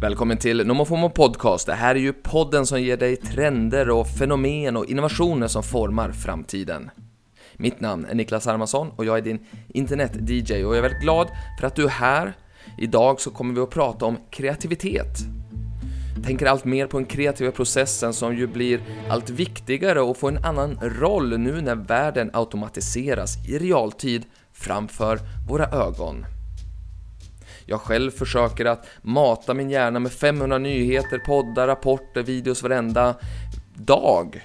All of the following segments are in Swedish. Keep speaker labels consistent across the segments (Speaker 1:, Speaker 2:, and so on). Speaker 1: Välkommen till NomoFomo Podcast. Det här är ju podden som ger dig trender och fenomen och innovationer som formar framtiden. Mitt namn är Niklas Hermansson och jag är din internet-DJ och jag är väldigt glad för att du är här. Idag så kommer vi att prata om kreativitet. Tänker allt mer på den kreativa processen som ju blir allt viktigare och får en annan roll nu när världen automatiseras i realtid framför våra ögon. Jag själv försöker att mata min hjärna med 500 nyheter, poddar, rapporter, videos varenda dag.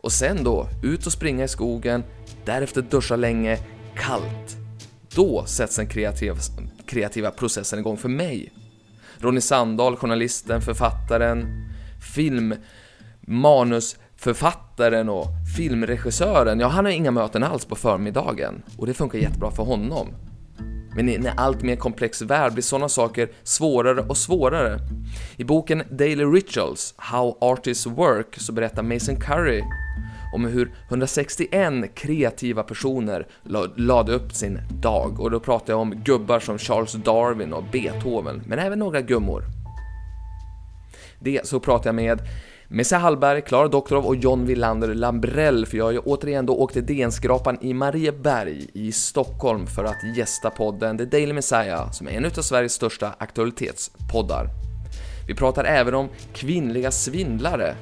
Speaker 1: Och sen då, ut och springa i skogen, därefter duscha länge, kallt. Då sätts den kreativa, kreativa processen igång för mig. Ronny Sandahl, journalisten, författaren, film, manusförfattaren och filmregissören, ja han har inga möten alls på förmiddagen och det funkar jättebra för honom. Men i en allt mer komplex värld blir sådana saker svårare och svårare. I boken Daily Rituals, How Artists Work, så berättar Mason Curry om hur 161 kreativa personer la- lade upp sin dag. Och då pratar jag om gubbar som Charles Darwin och Beethoven, men även några gummor. Det så pratar jag med Messa Hallberg, Klara Doktorov och John Wilander Lambrell för jag har ju återigen då åkt till DN-skrapan i Marieberg i Stockholm för att gästa podden The Daily Messiah som är en av Sveriges största aktualitetspoddar. Vi pratar även om kvinnliga svindlare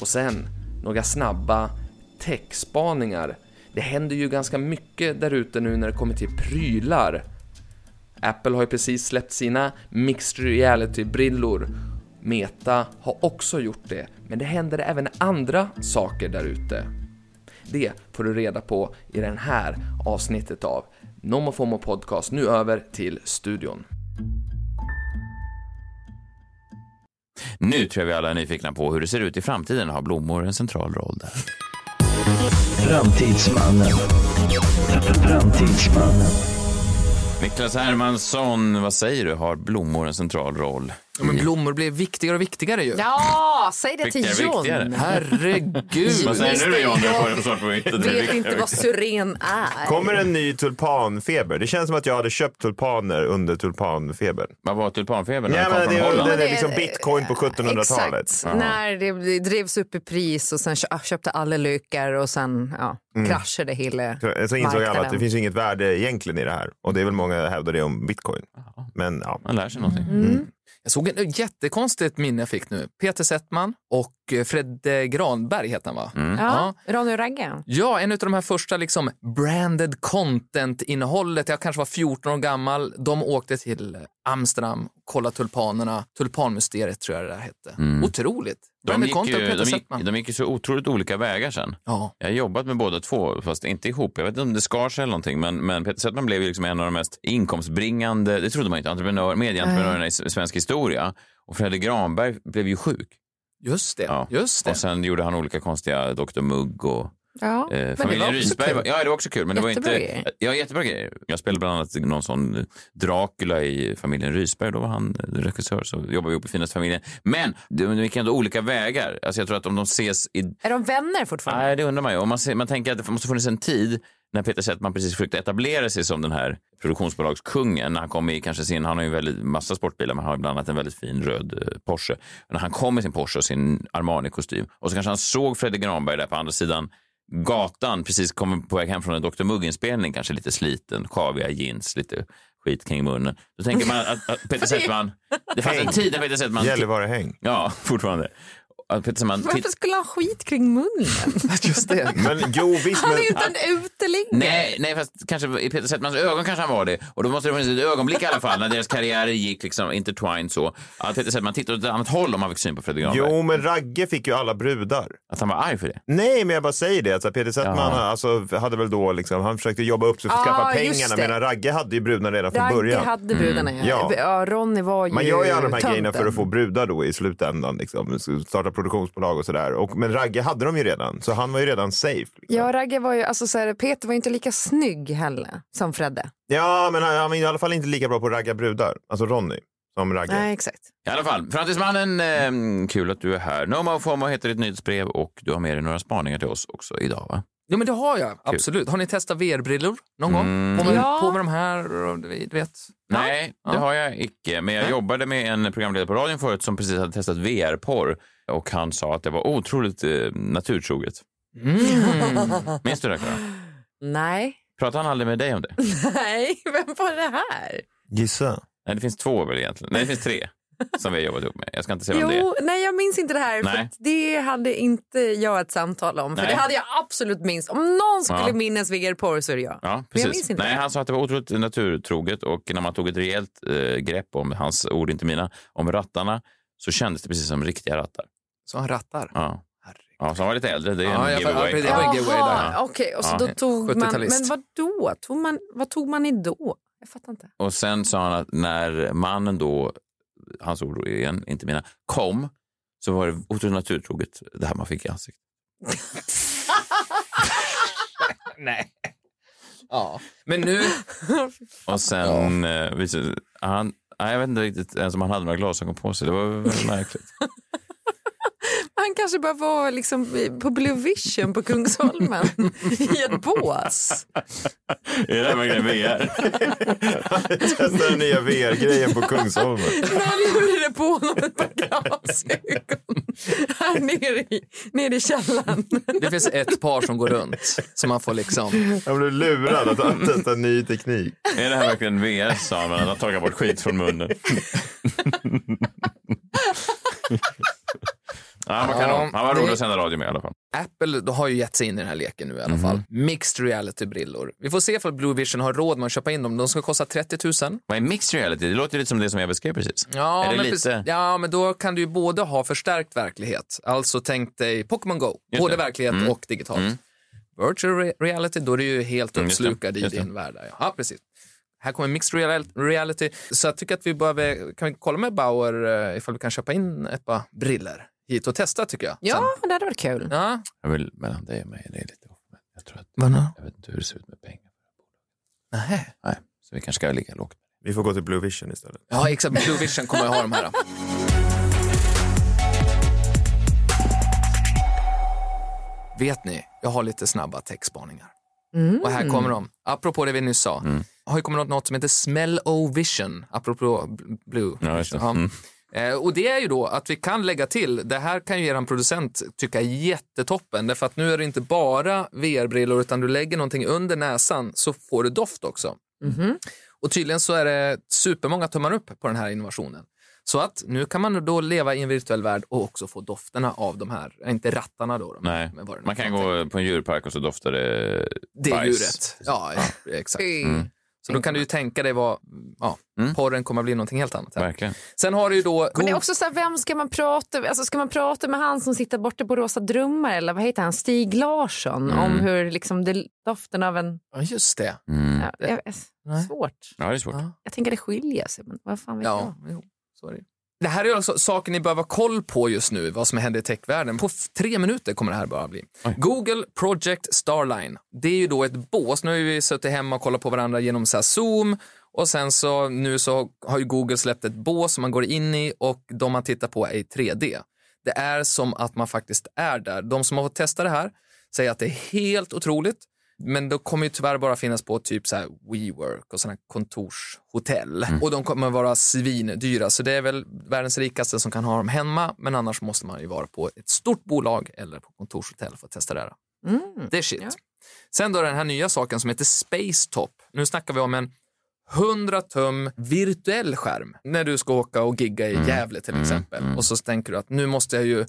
Speaker 1: och sen några snabba techspaningar. Det händer ju ganska mycket där ute nu när det kommer till prylar. Apple har ju precis släppt sina mixed reality-brillor. Meta har också gjort det, men det händer även andra saker där ute. Det får du reda på i den här avsnittet av NomoFomo Podcast. Nu över till studion.
Speaker 2: Nu tror jag vi alla är nyfikna på hur det ser ut i framtiden. Har blommor en central roll där?
Speaker 3: Framtidsmannen. Framtidsmannen.
Speaker 2: Niklas Hermansson, vad säger du? Har blommor en central roll?
Speaker 1: men blommor blir viktigare och viktigare ju.
Speaker 4: Ja, säg det till
Speaker 2: Viktigare,
Speaker 4: John.
Speaker 2: viktigare.
Speaker 1: Herregud!
Speaker 2: Vad säger du John? Jag får en svar på mitt. Det är
Speaker 4: Vet inte
Speaker 2: viktigare.
Speaker 4: vad syren är.
Speaker 5: Kommer en ny tulpanfeber? Det känns som att jag hade köpt tulpaner under tulpanfebern.
Speaker 2: Vad var tulpanfebern? Den
Speaker 5: Nej,
Speaker 2: kom
Speaker 5: men
Speaker 2: från
Speaker 5: det
Speaker 2: Holland.
Speaker 5: är, det
Speaker 4: Det
Speaker 5: är
Speaker 4: är-
Speaker 5: liksom bitcoin på 1700-talet.
Speaker 4: Exakt, när det drevs upp i pris och sen kö- ah, köpte alla lyckor och sen ja, kraschade hela
Speaker 5: Mm. Så insåg alla att det
Speaker 4: marknaden.
Speaker 5: finns ju inget värde egentligen i det här. Och det är väl många hävdar det om bitcoin. Men ja.
Speaker 2: Man lär sig någonting.
Speaker 1: Jag såg en jättekonstigt minne jag fick nu. Peter Settman och eh, Fred eh, Granberg heter han va?
Speaker 4: Ja, Ronny och Ragge.
Speaker 1: Ja, en av de här första liksom branded content-innehållet. Jag kanske var 14 år gammal. De åkte till Amsterdam, kollade tulpanerna. Tulpanmysteriet tror jag det där hette. Otroligt.
Speaker 2: De,
Speaker 1: Branded
Speaker 2: gick
Speaker 1: content,
Speaker 2: ju,
Speaker 1: Peter
Speaker 2: de, gick,
Speaker 1: Settman.
Speaker 2: de gick ju så otroligt olika vägar sen.
Speaker 1: Ja.
Speaker 2: Jag har jobbat med båda två, fast inte ihop. Jag vet inte om det skar sig eller någonting, men, men Peter Settman blev ju liksom en av de mest inkomstbringande, det trodde man inte, entreprenör, medieentreprenörerna i s- svensk historia. Och Fredrik Granberg blev ju sjuk.
Speaker 1: Just det.
Speaker 2: Ja.
Speaker 1: Just
Speaker 2: Och
Speaker 1: det.
Speaker 2: sen gjorde han olika konstiga Dr Mugg och
Speaker 4: Ja,
Speaker 2: Eh,
Speaker 1: det var
Speaker 2: familjen
Speaker 1: också
Speaker 2: Rysberg,
Speaker 1: kul.
Speaker 2: var, ja det var också kul. Men det var
Speaker 4: Jättebra
Speaker 2: inte,
Speaker 4: grejer.
Speaker 2: ja, jättebra grejer. Jag spelade bland annat någon sån Dracula i familjen Rysberg. Då var han eh, regissör, så jobbade vi ihop i finaste familjen. Men de de gick ändå olika vägar. Alltså jag tror att om de ses i...
Speaker 4: Är de vänner fortfarande?
Speaker 2: Nej, det undrar man ju. Om man, ser, man tänker att det måste ha funnits en tid när Peter Settman precis försökte etablera sig som den här produktionsbolagskungen. När han kom i kanske sin, han har ju en väldigt massa sportbilar, men han har bland annat en väldigt fin röd eh, Porsche. När han kom i sin Porsche och sin Armani-kostym och så kanske han såg Fredrik Granberg där på andra sidan gatan, precis kom på väg hem från en Dr Mugg-inspelning, kanske lite sliten, kaviga jeans, lite skit kring munnen. Då tänker man att, att Peter Settman, det fanns en tid när Peter Settman,
Speaker 5: Gällivare häng.
Speaker 2: ja, fortfarande, att Peter Settman
Speaker 4: Varför skulle han ha skit kring munnen?
Speaker 1: Just det.
Speaker 5: Men jo, visst.
Speaker 4: Han
Speaker 5: Men,
Speaker 4: är ju inte en uteliggare.
Speaker 2: Nej, nej, fast kanske i Peter Settmans ögon kanske han var det. Och då måste det funnits ett ögonblick i alla fall när deras karriärer gick liksom intertwined så. Att Peter Settman tittade åt ett annat håll om han fick syn på Fredrik Granberg.
Speaker 5: jo, men Ragge fick ju alla brudar.
Speaker 2: Att han var arg för det.
Speaker 5: Nej, men jag bara säger det. Alltså, Peter Settman
Speaker 2: Jaha.
Speaker 5: alltså, hade väl då liksom, han försökte jobba upp sig för att
Speaker 4: Ah,
Speaker 5: skaffa
Speaker 4: just
Speaker 5: pengarna
Speaker 4: det.
Speaker 5: medan Ragge hade ju brudarna redan från
Speaker 4: Ragge
Speaker 5: början.
Speaker 4: hade brudarna ja.
Speaker 5: Ja.
Speaker 4: ja. Ronny var ju
Speaker 5: Man gör ju alla de här grejerna
Speaker 4: tönten.
Speaker 5: för att få brudar då i slutändan. Liksom. Starta produktionsbolag och sådär. Och, men Ragge hade de ju redan, så han var ju redan safe. Liksom.
Speaker 4: Ja, Ragge var ju, alltså så här, Peter var ju inte lika snygg heller som Fredde.
Speaker 5: Ja, men han, han var i alla fall inte lika bra på att ragga brudar. Alltså Ronny, som Ragge.
Speaker 4: Nej, exakt.
Speaker 2: I alla fall, Framtidsmannen, ehm, eh, kul Mm. att du är här. Nomo Fomo heter ditt nyhetsbrev och du har med dig några spaningar till oss också idag va?
Speaker 6: Ja men det har jag, absolut. Har ni testat VR-brillor någon gång? På med,
Speaker 4: Ja.
Speaker 6: på med de här och du vet.
Speaker 2: Nej, det
Speaker 6: Ja.
Speaker 2: har jag icke. Men jag jobbade med en programledare på radion förut som precis hade testat VR-porr och han sa att det var otroligt eh, naturtroget.
Speaker 6: Mm.
Speaker 2: Minns du det, Clara?
Speaker 4: Nej.
Speaker 2: Pratade han aldrig med dig om det?
Speaker 4: Nej, vem var det här?
Speaker 5: Gissa.
Speaker 2: Nej, det finns två väl egentligen. Nej, det finns tre som vi har jobbat ihop med. Jag ska inte säga vem det är.
Speaker 4: Jo, nej jag minns inte det här. För
Speaker 2: Nej.
Speaker 4: att det hade inte jag ett samtal om. För
Speaker 2: Nej.
Speaker 4: det hade jag absolut minst. Om någon skulle
Speaker 2: Ja.
Speaker 4: minnas VR-porr så är det jag.
Speaker 2: Ja,
Speaker 4: Men jag
Speaker 2: precis.
Speaker 4: minns inte.
Speaker 2: Nej, han sa att det var otroligt naturtroget och när man tog ett rejält eh, grepp om, hans ord inte mina, om rattarna så kändes det precis som riktiga rattar.
Speaker 6: Så han rattar.
Speaker 2: Ja,
Speaker 6: Herregud.
Speaker 2: ja så han var lite äldre. Det är
Speaker 6: Ja,
Speaker 2: en
Speaker 6: jag-
Speaker 2: giveaway.
Speaker 6: ja, precis. Det var
Speaker 2: Ja.
Speaker 6: en giveaway där.
Speaker 4: Jaha, Okej, och så
Speaker 2: Ja.
Speaker 4: då tog man...
Speaker 6: 70-talist.
Speaker 4: Men vad då? Tog man, vad tog man i då? Jag fattar inte.
Speaker 2: Och sen sa han att när mannen då, hans ord igen, inte mina, kom så var det otroligt naturtroget det här man fick i ansiktet.
Speaker 6: Nej. Ja. Men nu...
Speaker 2: Och sen eh, visade han, nej, jag vet inte riktigt ens om han hade några glasögon på sig. Det var väldigt märkligt.
Speaker 4: Han kanske bara var liksom i- på Blue Vision på Kungsholmen i ett bås.
Speaker 2: är det verkligen VR?
Speaker 5: Testa den nya VR-grejen på Kungsholmen.
Speaker 4: När gjorde det på honom ett par glasögon här nere i, nere i källaren.
Speaker 6: Det finns ett par som går runt. Som man får liksom...
Speaker 5: Jag blev lurad att han testar ny teknik.
Speaker 2: Är det här verkligen VR? sa han, men han har tagit bort skit från munnen. ja, man kan,
Speaker 6: Ja,
Speaker 2: han var
Speaker 6: det-
Speaker 2: rolig att sända radio med i alla fall.
Speaker 6: Apple då har ju gett sig in i den här leken nu i alla fall. Mixed reality-brillor. Vi får se ifall Blue Vision har råd med att köpa in dem. De ska kosta 30 000.
Speaker 2: Vad är mixed reality? Det låter lite som det som jag beskrev precis.
Speaker 6: Ja,
Speaker 2: är det
Speaker 6: men
Speaker 2: lite...
Speaker 6: precis- ja, men då kan du ju både ha förstärkt verklighet, alltså tänk dig Pokémon Go, både verklighet
Speaker 2: Mm.
Speaker 6: och digitalt. Virtual re- reality, då är du ju helt
Speaker 2: Mm, just det,
Speaker 6: uppslukad
Speaker 2: just
Speaker 6: i
Speaker 2: det.
Speaker 6: din värld. där, Ja, ja precis. Här kommer mixed real- reality, så jag tycker att vi behöver, kan vi kolla med Bauer eh, ifall vi kan köpa in ett par briller hit och testa tycker jag. Sen.
Speaker 4: Ja, det hade varit kul.
Speaker 6: Ja.
Speaker 2: Jag vill, mellan dig och mig, det är lite off. Men jag, tror att, jag vet inte hur det ser ut med pengar.
Speaker 6: Nej.
Speaker 2: Nej, så vi kanske ska ligga lågt.
Speaker 5: Vi får gå till Blue Vision istället.
Speaker 6: Ja, exakt. Blue Vision kommer jag ha de här. då. Vet ni, jag har lite snabba textspaningar. Och här kommer de. Apropå det vi nyss sa.
Speaker 2: Mm.
Speaker 6: Har ju kommit något, något som heter Smell-O-Vision, apropå bl- Blue.
Speaker 2: Ja, just det. Mm.
Speaker 6: Eh, Och det är ju då att vi kan lägga till, det här kan ju er producent tycka är jättetoppen, därför att nu är det inte bara VR-brillor utan du lägger någonting under näsan så får du doft också. Och tydligen så är det supermånga tummar upp på den här innovationen. Så att nu kan man då leva i en virtuell värld och också få dofterna av de här, eh, inte rattarna då. de-
Speaker 2: Nej.
Speaker 6: men vad det nu
Speaker 2: Man kan
Speaker 6: är.
Speaker 2: gå på en djurpark och så doftar det
Speaker 6: Det är ju
Speaker 2: bajs.
Speaker 6: rätt. Ja, exakt.
Speaker 4: Mm.
Speaker 6: Så då kan du ju tänka dig vad, ja,
Speaker 2: Mm.
Speaker 6: porren kommer att bli någonting helt annat. Här.
Speaker 2: Verkligen.
Speaker 6: Sen har du ju då...
Speaker 4: Men det är också så här, vem ska man prata med? Alltså, ska man prata med han som sitter borta på Rosa Drömmar eller vad heter han, Stig Larsson? Om
Speaker 6: Mm.
Speaker 4: hur liksom, det, doften av en...
Speaker 6: Ja, just det.
Speaker 2: Mm.
Speaker 4: Ja, jag, jag, svårt.
Speaker 2: Ja, det är svårt.
Speaker 6: Ja.
Speaker 4: Jag tänker det skiljer sig, men vad fan vet
Speaker 6: Ja, jo, sorry. Det här är alltså saker ni behöver ha koll på just nu, vad som händer i techvärlden. På f- tre minuter kommer det här bara bli. Google Project Starline, det är ju då ett bås. Nu har ju vi suttit hemma och kollat på varandra genom så här Zoom och sen så nu så har ju Google släppt ett bås som man går in i och de man tittar på är i 3D. Det är som att man faktiskt är där. De som har fått testa det här säger att det är helt otroligt, men det kommer ju tyvärr bara finnas på typ så här WeWork och sådana kontorshotell. Och de kommer vara svindyra, så det är väl världens rikaste som kan ha dem hemma, men annars måste man ju vara på ett stort bolag eller på kontorshotell för att testa det här.
Speaker 4: jag. Mm.
Speaker 6: Det är shit.
Speaker 4: Ja.
Speaker 6: Sen då den här nya saken som heter Space Top. Nu snackar vi om en 100 tum virtuell skärm när du ska åka och gigga i Gävle till exempel. Och så tänker du att nu måste jag ju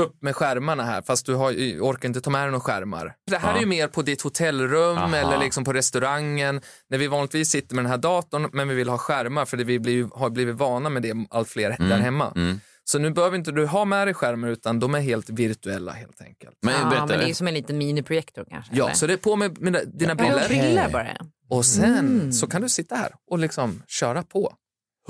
Speaker 6: upp med skärmarna här fast du har, ju- orkar inte ta med dig några skärmar. Det här är ju mer på ditt hotellrum
Speaker 2: Aha.
Speaker 6: eller liksom på restaurangen när vi vanligtvis sitter med den här datorn men vi vill ha skärmar för det vi blir, har blivit vana med det allt fler där hemma. Så nu behöver inte du ha med dig skärmar utan de är helt virtuella helt enkelt.
Speaker 2: Men
Speaker 4: Ja,
Speaker 2: berätta.
Speaker 4: men det är ju som en liten miniprojektor kanske.
Speaker 6: Ja,
Speaker 4: eller?
Speaker 6: så det är på med mina, dina
Speaker 4: Ja,
Speaker 6: briller.
Speaker 4: briller bara.
Speaker 6: Och sen så kan du sitta här och liksom köra på.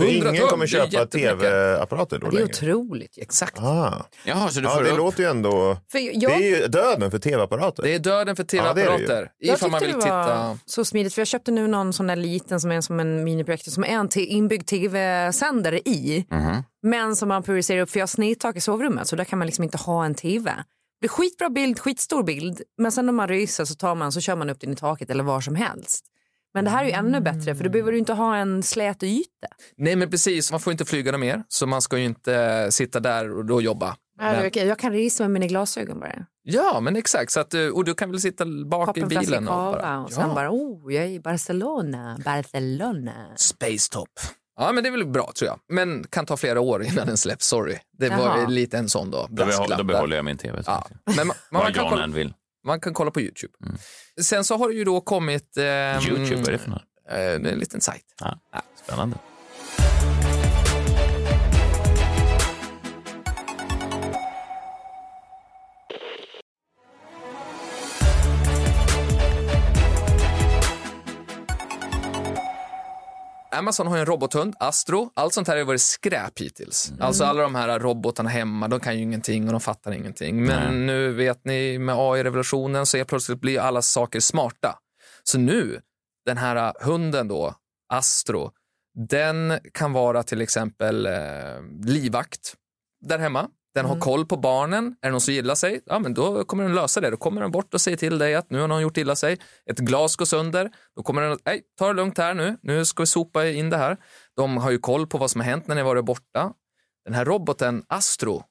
Speaker 5: Ingen kommer
Speaker 6: det är
Speaker 5: köpa
Speaker 6: jättemycket.
Speaker 5: tv-apparater då
Speaker 4: Ja, det är
Speaker 5: längre.
Speaker 4: otroligt. ju.
Speaker 6: Exakt.
Speaker 5: Ah.
Speaker 2: Jaha, så du
Speaker 5: Ja,
Speaker 2: får
Speaker 5: det
Speaker 2: upp.
Speaker 5: låter ju ändå...
Speaker 4: För
Speaker 5: Det
Speaker 4: jag,
Speaker 5: är ju döden för tv-apparater.
Speaker 6: Det är döden för
Speaker 5: Ja, det är det ju.
Speaker 6: tv-apparater.
Speaker 4: jag tyckte
Speaker 6: ifall man vill
Speaker 4: det var
Speaker 6: titta.
Speaker 4: så smidigt, för jag köpte nu någon sån där liten som är som en miniprojektor som är en te- inbyggd tv-sändare
Speaker 6: Mhm.
Speaker 4: i. Men som man prioriterar upp, för jag har snedtak i sovrummet så där kan man liksom inte ha en tv. Det är skitbra bild, skitstor bild. Men sen när man ryser så tar man så kör man upp den i taket eller var som helst. Men det här är ju ännu bättre för då behöver du inte ha en slät yta.
Speaker 6: Nej men precis, man får inte flyga något mer så man ska ju inte eh, sitta där och då jobba. Men-
Speaker 4: Jag kan resa med mina glasögon bara.
Speaker 6: Ja men exakt, så att, eh, och du kan väl sitta bak
Speaker 4: Poppa
Speaker 6: i
Speaker 4: en flaska
Speaker 6: bilen och bara...
Speaker 4: cava och sen
Speaker 6: ja.
Speaker 4: bara oh, jag är i Barcelona, Barcelona.
Speaker 6: Space Top. Ja men det är väl bra tror jag. Men kan ta flera år innan den släpps, sorry. Det var
Speaker 4: Jaha.
Speaker 6: väl lite en sån då,
Speaker 2: Då, behåll,
Speaker 6: brasklapp
Speaker 2: då
Speaker 6: där.
Speaker 2: behåller jag min tv.
Speaker 6: Ja.
Speaker 2: Ja.
Speaker 6: Men man, man,
Speaker 2: Vad
Speaker 6: kan
Speaker 2: John
Speaker 6: kolla,
Speaker 2: än vill.
Speaker 6: man kan kolla på Youtube. Sen så har det ju då kommit... ehm,
Speaker 2: Mm. Youtube, vad är det för något?
Speaker 6: eh, en liten sajt.
Speaker 2: Ja. Spännande.
Speaker 6: Amazon har ju en robothund, Astro. Allt sånt här har ju varit skräp hittills.
Speaker 2: Mm.
Speaker 6: Alltså alla de här robotarna hemma, de kan ju ingenting och de fattar ingenting. Men
Speaker 2: Nej.
Speaker 6: nu vet ni, med AI-revolutionen så är plötsligt blir ju alla saker smarta. Så nu, den här äh, hunden då, Astro, den kan vara till exempel eh, livvakt där hemma. Den
Speaker 4: Mm.
Speaker 6: har koll på barnen. Är det någon som gillar sig, ja, men då kommer den lösa det. Då kommer den bort och säger till dig att nu har någon gjort illa sig. Ett glas går sönder. Då kommer den att, nej, ta det lugnt här nu. Nu ska vi sopa in det här. De har ju koll på vad som har hänt när ni har varit borta. Den här roboten Astro,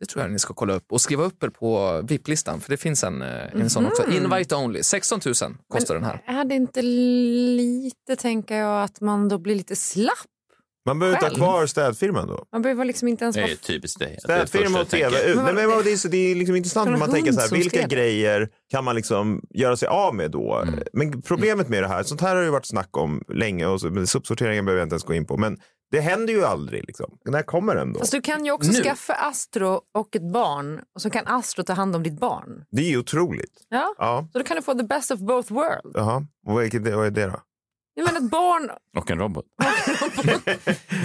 Speaker 6: det tror jag ni ska kolla upp och skriva upp er på VIP-listan. För det finns en, eh, en sån också.
Speaker 2: Mhm.
Speaker 6: Invite only. 16 000 kostar den här.
Speaker 4: Är det inte lite, tänker jag, att man då blir lite slapp?
Speaker 5: Man behöver inte ha
Speaker 4: Själv?
Speaker 5: kvar städfirman då.
Speaker 4: Man behöver liksom inte ens
Speaker 2: Det
Speaker 4: vara...
Speaker 2: är typiskt dig. Det är det
Speaker 5: Städfirma
Speaker 2: första
Speaker 5: och
Speaker 2: jag tänker.
Speaker 5: tv. Ut.
Speaker 4: Men
Speaker 5: Nej,
Speaker 4: vad-
Speaker 5: men vad- det, är, så- det är liksom intressant
Speaker 4: Kan
Speaker 5: när
Speaker 4: det
Speaker 5: man
Speaker 4: vara
Speaker 5: tänker så
Speaker 4: hund
Speaker 5: här,
Speaker 4: som
Speaker 5: vilka
Speaker 4: städar?
Speaker 5: grejer kan man liksom göra sig av med då?
Speaker 2: Mm.
Speaker 5: Men problemet med det här, sånt här har det ju varit snack om länge och så, men sopsorteringen behöver jag inte ens gå in på. Men det händer ju aldrig liksom. När kommer den då?
Speaker 4: Fast du kan ju också
Speaker 6: Nu.
Speaker 4: skaffa Astro och ett barn och så kan Astro ta hand om ditt barn.
Speaker 5: Det är ju otroligt.
Speaker 4: Ja.
Speaker 5: Ja,
Speaker 4: Så då kan du få the best of both worlds.
Speaker 5: jaha. Och Vad är det- vad är det då?
Speaker 4: Jag menar ett barn
Speaker 2: Och en robot.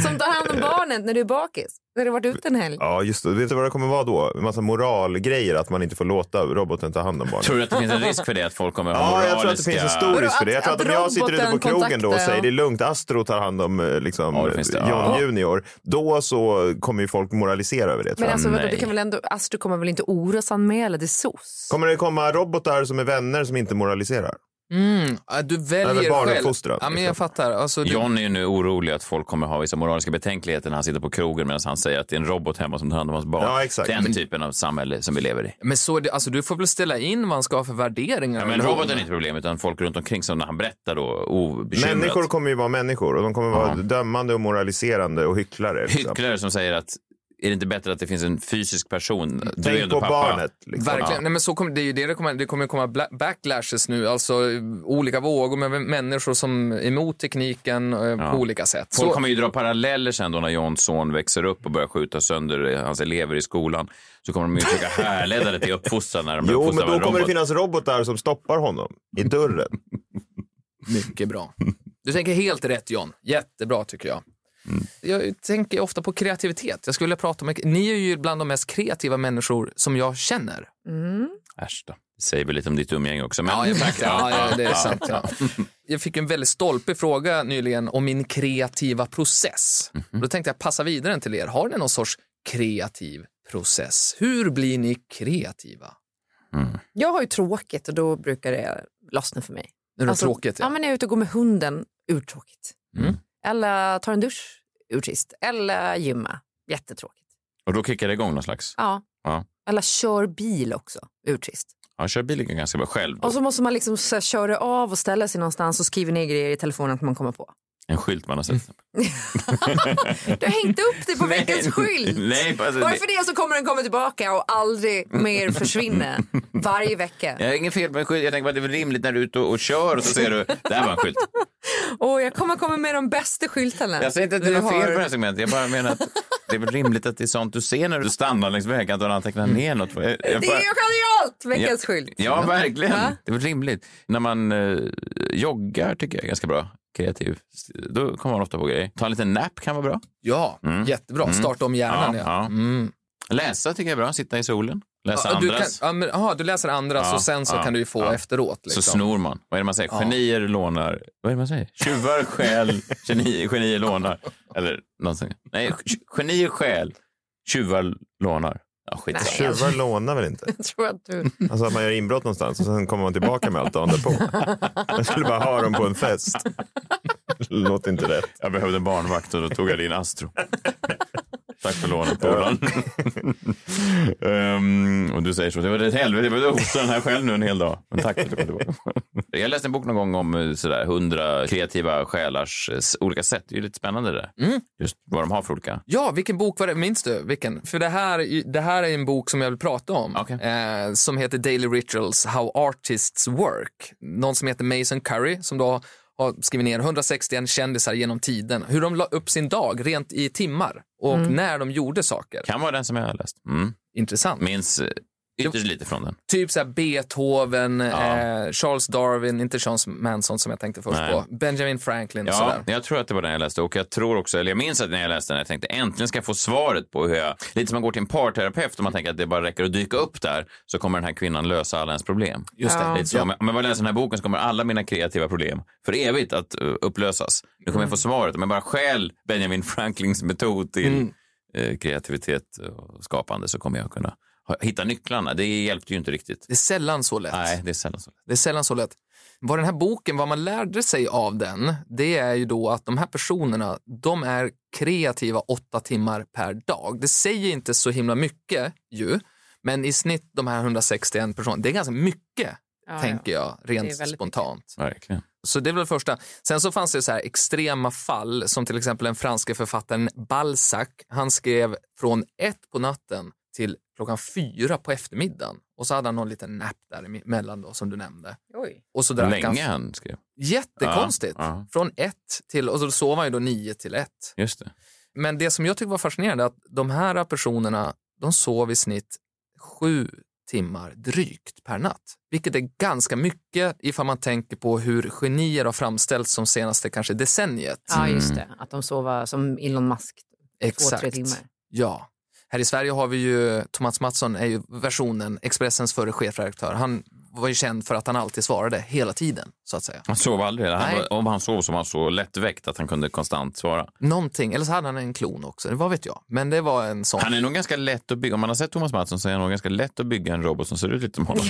Speaker 4: som tar hand om barnet när du är bakis. När du har varit ute en helg.
Speaker 5: Ja, just det. Vet du vad det kommer vara då? En massa moralgrejer att man inte får låta roboten ta hand om barnen.
Speaker 2: Tror du att det finns en risk för det? Att folk kommer ha
Speaker 5: Ja,
Speaker 2: moraliska...
Speaker 5: jag tror att det finns en stor risk för det. Jag tror
Speaker 4: Att-
Speaker 5: att om jag
Speaker 4: att
Speaker 5: sitter ute på
Speaker 4: roboten
Speaker 5: krogen då och
Speaker 4: kontaktar-
Speaker 5: säger det är lugnt, Astro tar hand om eh, liksom,
Speaker 2: Ja, det finns det.
Speaker 5: John
Speaker 2: Ja.
Speaker 5: Junior, då så kommer ju folk moralisera över det. Tror
Speaker 4: Men
Speaker 5: jag.
Speaker 4: alltså, vadå,
Speaker 2: nej.
Speaker 4: du kan väl ändå, Astro kommer väl inte orosanmäla till SOS?
Speaker 5: Kommer det komma robotar som är vänner som inte moraliserar?
Speaker 6: Mm, ja, du
Speaker 5: Eller
Speaker 6: väljer själv.
Speaker 5: barnuppfostran,
Speaker 6: Ja, men jag
Speaker 5: liksom.
Speaker 6: fattar. Alltså, du,
Speaker 2: John är ju nu orolig att folk kommer ha vissa moraliska betänkligheter när han sitter på krogen medan han säger att det är en robot hemma som tar hand om hans barn.
Speaker 5: Ja, exakt.
Speaker 2: Den typen av samhälle som vi lever i.
Speaker 6: men så, är det- alltså, du får väl ställa in vad han ska ha för värderingar.
Speaker 2: Ja, men roboten är inte problem, utan folk runt omkring som när han berättar då obekymrat.
Speaker 5: Människor kommer ju vara människor och de kommer vara
Speaker 2: Ja.
Speaker 5: dömande och moraliserande och hycklare. Liksom.
Speaker 2: Hycklare som säger att är det inte bättre att det finns en fysisk person? Du är
Speaker 5: Tänk
Speaker 2: ändå
Speaker 5: på
Speaker 2: pappa.
Speaker 5: barnet. Liksom.
Speaker 6: Verkligen. Nej, men så kommer, det är ju det det kommer, det kommer komma bla- backlashes nu, alltså eh, olika vågor med människor som är emot tekniken eh,
Speaker 2: Ja.
Speaker 6: på olika sätt.
Speaker 2: Folk
Speaker 6: Så,
Speaker 2: kommer ju dra paralleller sen då när Johns son växer upp och börjar skjuta sönder hans elever i skolan. Så kommer de ju försöka härleda det till uppfostran när de blir
Speaker 5: Jo, men
Speaker 2: uppfostrade av en
Speaker 5: då kommer det
Speaker 2: robot.
Speaker 5: finnas robotar som stoppar honom i dörren.
Speaker 6: Mycket bra. Du tänker helt rätt John. Jättebra tycker jag.
Speaker 2: Mm.
Speaker 6: Jag tänker ofta på kreativitet. Jag skulle vilja prata om, ni är ju bland de mest kreativa människor som jag känner.
Speaker 2: Äsch då. Det säger väl lite om ditt umgänge också. Men...
Speaker 6: Ja, jag tackar. Ja, ja, det är sant. Ja. Jag fick en väldigt stolpig fråga nyligen om min kreativa process.
Speaker 2: Mhm.
Speaker 6: Då tänkte jag passa vidare den till er. Har ni någon sorts kreativ process? Hur blir ni kreativa?
Speaker 4: Jag har ju tråkigt och då brukar det lossna för mig.
Speaker 6: Nu är det
Speaker 4: Alltså,
Speaker 6: tråkigt.
Speaker 4: Ja.
Speaker 6: Ja.
Speaker 4: men när jag är ute och går med hunden, urtråkigt.
Speaker 2: Mm.
Speaker 4: Eller tar en dusch, urtrist. Eller gymma, jättetråkigt.
Speaker 2: Och då kickar det igång någon slags...
Speaker 4: Ja.
Speaker 2: Ja.
Speaker 4: Eller kör bil också, urtrist.
Speaker 2: Ja, kör bil kan ganska bra själv. Då.
Speaker 4: Och så måste man liksom så här, köra av och ställa sig någonstans och skriva ner grejer i telefonen att man kommer på.
Speaker 2: En skylt man har sett.
Speaker 4: Du har hängt upp det på veckans skylt.
Speaker 2: Nej, alltså,
Speaker 4: Varför det så kommer den komma tillbaka och aldrig mer försvinna. Varje vecka.
Speaker 2: Jag har ingen fel med skylt. Jag tänker bara att det är väl rimligt när du är ute och, och kör och så ser du, där var en skylt.
Speaker 4: Och jag kommer komma med de bästa skyltarna.
Speaker 2: Jag säger inte att
Speaker 4: vi
Speaker 2: det är något fel
Speaker 4: har.
Speaker 2: på det här segmentet. Jag bara menar att det är väl rimligt att det är sånt du ser när du stannar längs vägen och antecknar ner något. Jag, jag
Speaker 4: Det
Speaker 2: bara...
Speaker 4: är ju genialt! Veckans skylt.
Speaker 2: Ja, verkligen.
Speaker 4: Ja.
Speaker 2: Det är väl rimligt. När man eh, joggar tycker jag är ganska bra. Kreativ. Då kommer man ofta på grejer. Ta en liten nap kan vara bra.
Speaker 6: ja, jättebra. Starta om hjärnan.
Speaker 2: Mm. Ja,
Speaker 6: Ja,
Speaker 2: ja.
Speaker 6: Mm.
Speaker 2: Läsa tycker jag är bra. Sitta i solen. Läsa
Speaker 6: Ja, du, kan,
Speaker 2: andras.
Speaker 6: ja, men, aha, du läser andras
Speaker 2: Ja,
Speaker 6: och sen så
Speaker 2: ja,
Speaker 6: kan du ju få
Speaker 2: ja.
Speaker 6: efteråt. Liksom.
Speaker 2: Så snor man. Vad är det man säger? Genier lånar... Vad är det man säger? Tjuvar stjäl, genier, genier lånar. Eller någonting. Nej, genier stjäl, tjuvar lånar. Ja, skit
Speaker 4: Nej.
Speaker 2: i det.
Speaker 5: Tjuvar lånar väl inte?
Speaker 4: Jag tror att du...
Speaker 5: Alltså att man gör inbrott någonstans och sen kommer man tillbaka med allt dagen därpå. Man skulle bara ha dem på en fest. Låter inte rätt.
Speaker 2: Jag behövde en barnvakt och då tog jag din Astro. Tack för lånet, polaren. Ehm, och du säger så. Det var ett helvete. Jag behövde hosta den här själv nu en hel dag. Men tack för att du kom tillbaka. Jag läste en bok någon gång om eh, sådär, hundra kreativa själars eh, s- olika sätt. Det är ju lite spännande det där. Just vad de har för olika.
Speaker 6: Ja, vilken bok var det? Minns du vilken? För det här, det här är en bok som jag vill prata om.
Speaker 2: Okej.
Speaker 6: Eh, som heter Daily Rituals, How Artists Work. Någon som heter Mason Curry som då har skrivit ner 161 kändisar genom tiden. Hur de la upp sin dag rent i timmar och
Speaker 4: Mm.
Speaker 6: när de gjorde saker.
Speaker 2: Kan vara den som jag har läst. Mm.
Speaker 6: Intressant.
Speaker 2: Minns eh, ytterst lite från den.
Speaker 6: Typ så här Beethoven, eh, Charles Darwin, inte Charles Manson som jag tänkte först
Speaker 2: Nej.
Speaker 6: på. Benjamin Franklin och
Speaker 2: Ja,
Speaker 6: sådär.
Speaker 2: jag tror att det var den jag läste och jag tror också, eller jag minns att när jag läste den, jag tänkte äntligen ska jag få svaret på hur jag, lite som man går till en parterapeut och man tänker att det bara räcker att dyka upp där så kommer den här kvinnan lösa alla ens problem. Just
Speaker 4: det.
Speaker 2: Lite så, men om jag bara läser den här boken så kommer alla mina kreativa problem för evigt att eh, upplösas. Nu kommer jag
Speaker 6: Mm.
Speaker 2: få svaret om jag bara stjäl Benjamin Franklins metod till
Speaker 6: Mm.
Speaker 2: eh, kreativitet och skapande så kommer jag kunna ha- hitta nycklarna. Det hjälpte ju inte riktigt.
Speaker 6: Det är sällan så lätt.
Speaker 2: Nej, det är sällan så.
Speaker 6: Det är sällan så lätt. Vad den här boken, vad man lärde sig av den, det är ju då att de här personerna, de är kreativa åtta timmar per dag. Det säger inte så himla mycket ju, men i snitt de här 161 personerna, det är ganska mycket,
Speaker 4: Ja,
Speaker 6: tänker jag, rent
Speaker 4: väldigt mycket.
Speaker 6: spontant.
Speaker 2: Verkligen.
Speaker 6: Så det är väl det första. Sen så fanns det så här extrema fall som till exempel den franske författaren Balzac. Han skrev från ett på natten till klockan fyra på eftermiddagen och så hade han någon liten nap däremellan då som du nämnde.
Speaker 4: Ja. Oj.
Speaker 6: Och så drack
Speaker 2: Länge
Speaker 6: han.
Speaker 2: han skrev.
Speaker 6: Jättekonstigt.
Speaker 2: Ja, ja.
Speaker 6: Från ett till, och så sov han ju då nio till ett.
Speaker 2: Just det.
Speaker 6: Men det som jag tycker var fascinerande är att de här personerna, de sov i snitt sju timmar drygt per natt. Vilket är ganska mycket ifall man tänker på hur genier har framställts som senaste kanske decenniet.
Speaker 4: Ja, just det. Att de sover som Elon Musk, två, tre timmar.
Speaker 6: Ja. Här i Sverige har vi ju, Thomas Mattsson är ju versionen, Expressens förre chefredaktör. Han var ju känd för att han alltid svarade hela tiden, så att säga.
Speaker 2: Han sov aldrig. Han
Speaker 6: Nej.
Speaker 2: var, om han sov så var han så lättväckt att han kunde konstant svara.
Speaker 6: Någonting, eller så hade han en klon också, vad vet jag. Men det var en sån.
Speaker 2: Han är nog ganska lätt att bygga. Om man har sett Thomas Mattsson så är han nog ganska lätt att bygga en robot som ser ut lite som honom.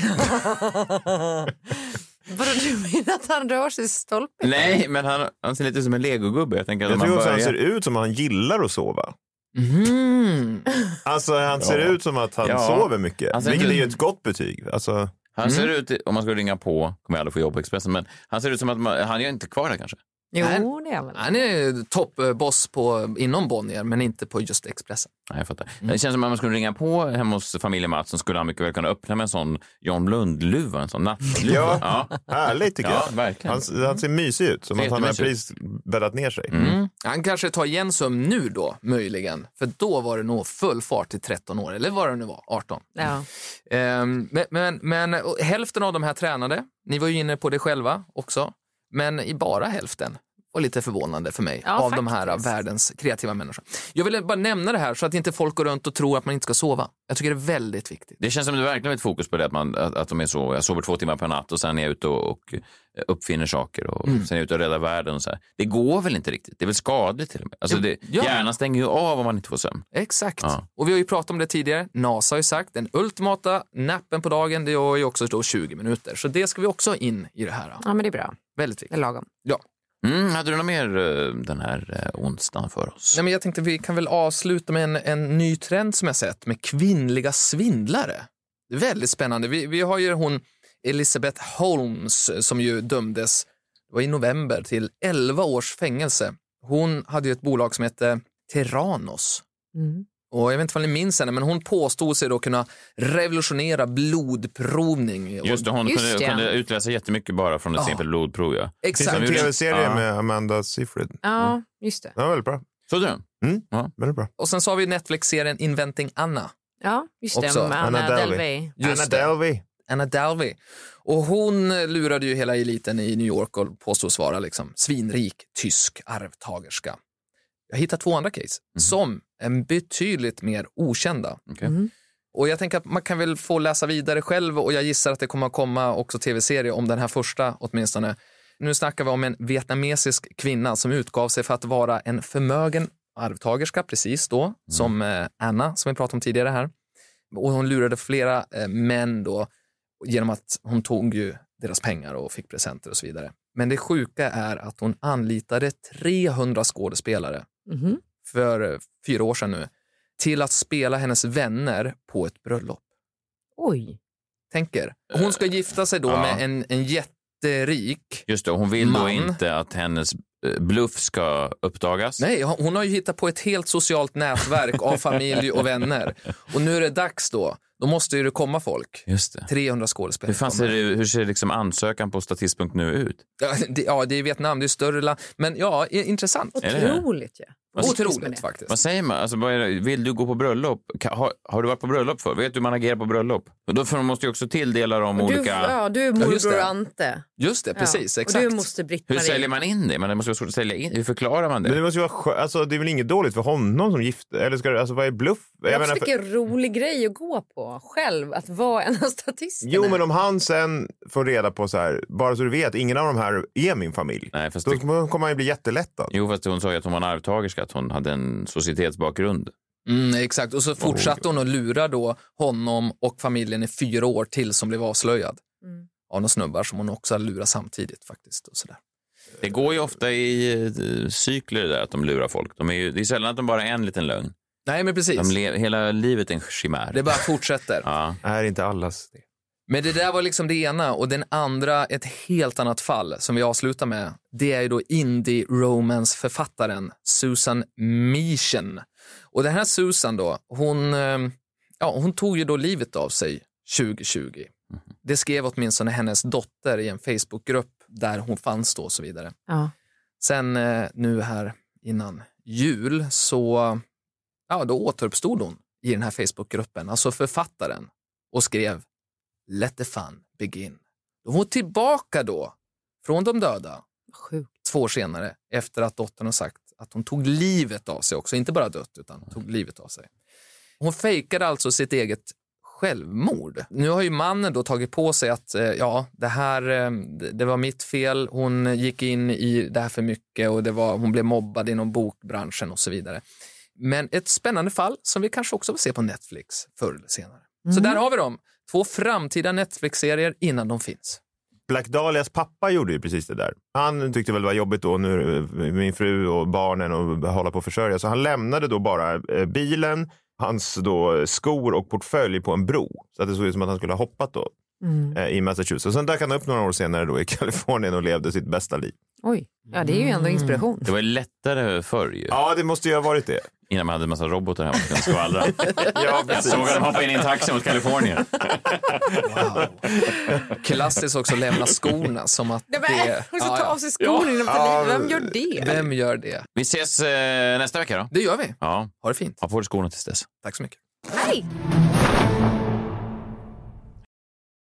Speaker 4: Vadå, du menar att han rör sig i stolpen?
Speaker 2: Nej, men han, han ser lite ut som en legogubbe. Jag tänker att om
Speaker 5: Jag tycker
Speaker 2: man
Speaker 5: också
Speaker 2: börjar...
Speaker 5: han ser ut som att han gillar att sova.
Speaker 6: Mhm.
Speaker 5: Alltså han ser
Speaker 2: Ja.
Speaker 5: ut som att han
Speaker 2: Ja. Alltså,
Speaker 5: sover mycket.
Speaker 2: Han ser
Speaker 5: vilket
Speaker 2: ut-
Speaker 5: är ju ett gott betyg. Alltså,
Speaker 2: han ser ut, om man skulle ringa på, kommer jag aldrig få jobb på Expressen, men han ser ut som att man, han är inte kvar där kanske.
Speaker 4: Jo,
Speaker 6: Nej.
Speaker 4: det är han väl.
Speaker 6: Han är toppboss på, inom Bonnier, men inte på just Expressen.
Speaker 2: Nej, jag fattar. Det känns som att om man skulle ringa på hemma hos familjen Mattsson skulle han mycket väl kunna öppna med en sån John Lund-luva, en sån nattluva.
Speaker 5: Ja.
Speaker 2: ja.
Speaker 5: härligt tycker
Speaker 2: Ja,
Speaker 5: jag.
Speaker 2: verkligen.
Speaker 5: Han, han ser mysig ut. Som
Speaker 2: Ser
Speaker 5: att han har precis
Speaker 2: jättemysig
Speaker 5: bäddat ner sig.
Speaker 2: Mm.
Speaker 4: Mm.
Speaker 6: Han kanske tar igen sömn nu då, möjligen. För då var det nog full fart till 13 år, eller vad det nu var, 18.
Speaker 4: Ja.
Speaker 6: Ehm, men men, men och hälften av de här tränade. Ni var ju inne på det själva också. Men i bara hälften. Och lite förvånande för mig
Speaker 4: Ja,
Speaker 6: av de här
Speaker 4: faktiskt.
Speaker 6: världens kreativa människor. Jag ville bara nämna det här så att inte folk går runt och tror att man inte ska sova. Jag tycker det är väldigt viktigt.
Speaker 2: Det känns som det verkligen är ett fokus på det, att, man, att, att de är så, jag sover två timmar per natt och sen är jag ute och, och eh, uppfinner saker och
Speaker 6: Mm.
Speaker 2: sen är jag ute och räddar världen. Och så här. Det går väl inte riktigt? Det är väl skadligt till och med? Alltså det,
Speaker 6: Ja.
Speaker 2: Hjärnan stänger ju av om man inte får sömn.
Speaker 6: Exakt.
Speaker 2: Ja.
Speaker 6: Och vi har ju pratat om det tidigare. NASA har ju sagt den ultimata nappen på dagen, det är ju också då 20 minuter. Så det ska vi också ha in i det här. då.
Speaker 4: ja, men det är bra.
Speaker 6: Väldigt
Speaker 4: Det
Speaker 6: viktigt.
Speaker 4: är lagom.
Speaker 2: Mm, hade du något mer eh, den här eh, onsdagen för oss?
Speaker 6: Nej, men jag tänkte vi kan väl avsluta med en, en ny trend som jag sett med kvinnliga svindlare. Det är väldigt spännande. Vi, vi har ju hon Elizabeth Holmes som ju dömdes det var i november till 11 års fängelse. Hon hade ju ett bolag som hette Terranos.
Speaker 4: Mm.
Speaker 6: Och jag vet inte om ni minns henne, men hon påstod sig då kunna revolutionera blodprovning. Och-
Speaker 2: Just det, hon
Speaker 4: Just
Speaker 2: kunde,
Speaker 4: det.
Speaker 2: kunde utläsa jättemycket bara från ett
Speaker 6: Ja.
Speaker 2: simpelt blodprov. Ja.
Speaker 5: Det
Speaker 6: Exakt.
Speaker 5: finns en
Speaker 2: Exakt.
Speaker 5: tv-serie
Speaker 2: Ja.
Speaker 5: med Amanda Seyfried.
Speaker 4: Ja, just det.
Speaker 5: Den var väldigt bra.
Speaker 2: Såg du den?
Speaker 5: Väldigt bra.
Speaker 6: Och sen så har vi Netflix-serien Inventing Anna,
Speaker 4: Ja, just
Speaker 6: Också.
Speaker 4: det. Med Anna,
Speaker 5: Anna Delvey.
Speaker 4: Delvey.
Speaker 6: Just
Speaker 5: Anna
Speaker 6: det.
Speaker 5: Delvey.
Speaker 6: Anna Dalvey. Och hon eh, lurade ju hela eliten i New York och påstås vara liksom svinrik tysk arvtagerska. Jag hittar två andra case som är betydligt mer okända.
Speaker 2: Okej.
Speaker 4: Mhm.
Speaker 6: Och jag tänker att man kan väl få läsa vidare själv och jag gissar att det kommer att komma också tv-serie om den här första åtminstone. Nu snackar vi om en vietnamesisk kvinna som utgav sig för att vara en förmögen arvtagerska precis då, som eh, Anna som vi pratade om tidigare här. Och hon lurade flera eh, män då genom att hon tog ju deras pengar och fick presenter och så vidare. Men det sjuka är att hon anlitade 300 skådespelare
Speaker 4: Mhm.
Speaker 6: för eh, fyra år sedan nu till att spela hennes vänner på ett bröllop.
Speaker 4: Oj.
Speaker 6: Tänker. Hon ska gifta sig då
Speaker 2: Eh, Ja.
Speaker 6: med en, en jätterik
Speaker 2: Just det, och hon vill då
Speaker 6: Man.
Speaker 2: inte att hennes eh, bluff ska uppdagas.
Speaker 6: Nej, hon har ju hittat på ett helt socialt nätverk av familj och vänner. Och nu är det dags då. Då måste ju det komma folk.
Speaker 2: Just det.
Speaker 6: 300
Speaker 2: Hur,
Speaker 6: skådespelare.
Speaker 2: fan ser, det, hur ser liksom ansökan på statist.nu ut?
Speaker 6: Ja, det, ja, det är Vietnam, det är större land. Men ja, i- intressant.
Speaker 2: Är det det?
Speaker 4: Otroligt ju.
Speaker 2: Vad-
Speaker 4: Lyckas med
Speaker 6: Otroligt
Speaker 4: det.
Speaker 6: faktiskt.
Speaker 2: Vad säger man? Alltså, vad är det? Vill du gå på bröllop? Ka- Har, har du varit på bröllop för? Vet du hur man agerar på bröllop? Och då för de måste ju också tilldela dem
Speaker 4: Du,
Speaker 2: olika...
Speaker 4: ja, du är
Speaker 6: just
Speaker 4: morbror
Speaker 6: det.
Speaker 4: Ante.
Speaker 6: Just det,
Speaker 4: Ja.
Speaker 6: precis.
Speaker 4: Och
Speaker 6: Exakt.
Speaker 4: du är moster
Speaker 2: Hur
Speaker 4: Britt-Marie.
Speaker 2: säljer man in det? Men det måste vara svårt att sälja in. Hur förklarar man
Speaker 5: Men
Speaker 2: det?
Speaker 5: det måste ju vara skö- alltså, det är väl inget dåligt för honom som gift? Eller ska det, alltså, vad är bluff? Jag
Speaker 4: Jag
Speaker 5: menar, för-
Speaker 4: Vilken rolig grej att gå på själv, att vara en av statisterna.
Speaker 5: jo, men om han sen får reda på så här, bara så du vet, ingen av de här är min familj.
Speaker 2: Nej, fast
Speaker 5: Då
Speaker 2: det...
Speaker 5: kommer han ju bli jättelättad.
Speaker 2: Jo, fast hon sa ju att hon var en arvtagerska, att hon hade en societetsbakgrund.
Speaker 6: Mm, exakt. Och så fortsatte hon att lura då honom och familjen i fyra år till som blev avslöjad
Speaker 4: Mm.
Speaker 6: av några snubbar som hon också hade lurat samtidigt faktiskt. Och sådär.
Speaker 2: Det går ju ofta i eh, cykler det där att de lurar folk. De är ju, det är sällan att de bara är en liten lögn.
Speaker 6: Nej, men precis.
Speaker 2: De le, hela livet är en chimär.
Speaker 6: Det bara fortsätter.
Speaker 2: Ja.
Speaker 5: Är inte allas det.
Speaker 6: Men det där var liksom det ena och den andra, ett helt annat fall som vi avslutar med, det är ju då indie romance-författaren Susan Mischen. Och den här Susan då, hon, eh, ja, hon tog ju då livet av sig 2020. Det skrev åtminstone hennes dotter i en Facebookgrupp där hon fanns då och så vidare.
Speaker 4: Ja.
Speaker 6: Sen eh, nu här innan jul så ja, då återuppstod hon i den här Facebookgruppen, alltså författaren, och skrev Let the fun begin. Då var hon tillbaka då, från de döda,
Speaker 4: Sjukt.
Speaker 6: två år senare, efter att dottern har sagt att hon tog livet av sig också, inte bara dött utan tog livet av sig. Hon fejkade alltså sitt eget självmord. Nu har ju mannen då tagit på sig att eh, ja, det här eh, det- det var mitt fel. Hon gick in i det här för mycket och det var, hon blev mobbad inom bokbranschen och så vidare. Men ett spännande fall som vi kanske också får se på Netflix förr eller senare. Så där har vi dem. Två framtida Netflix-serier innan de finns.
Speaker 5: Black Dahlias pappa gjorde ju precis det där. Han tyckte väl det var jobbigt då, nu, eh, min fru och barnen och hålla på att försörja. Så han lämnade då bara eh, bilen, hans då skor och portfölj på en bro. Så att det såg ut som att han skulle ha hoppat då
Speaker 4: Mm.
Speaker 5: eh, i Massachusetts. Och sen dök han upp några år senare då i Kalifornien och levde sitt bästa liv.
Speaker 4: Oj. Ja, det är ju ändå inspiration.
Speaker 2: Det var ju lättare förr ju.
Speaker 5: Ja, det måste ju ha varit det.
Speaker 2: Innan man hade en massa robotar hemma som kunde skvallra.
Speaker 5: Ja,
Speaker 2: Jag såg dem hoppa in i en taxi mot Kalifornien.
Speaker 6: Klassiskt också lämna skorna som att
Speaker 4: Ja,
Speaker 6: det...
Speaker 4: men, eh, och så ta
Speaker 6: Ja,
Speaker 4: av sig skorna innan
Speaker 5: Ja.
Speaker 4: ja. Vem gör det?
Speaker 6: ja. Vem gör det?
Speaker 2: Vi ses eh, nästa vecka då.
Speaker 6: Det gör vi.
Speaker 2: Ja,
Speaker 6: Ha det fint.
Speaker 2: ha på dig skorna tills dess.
Speaker 6: Tack så mycket.
Speaker 4: Nej.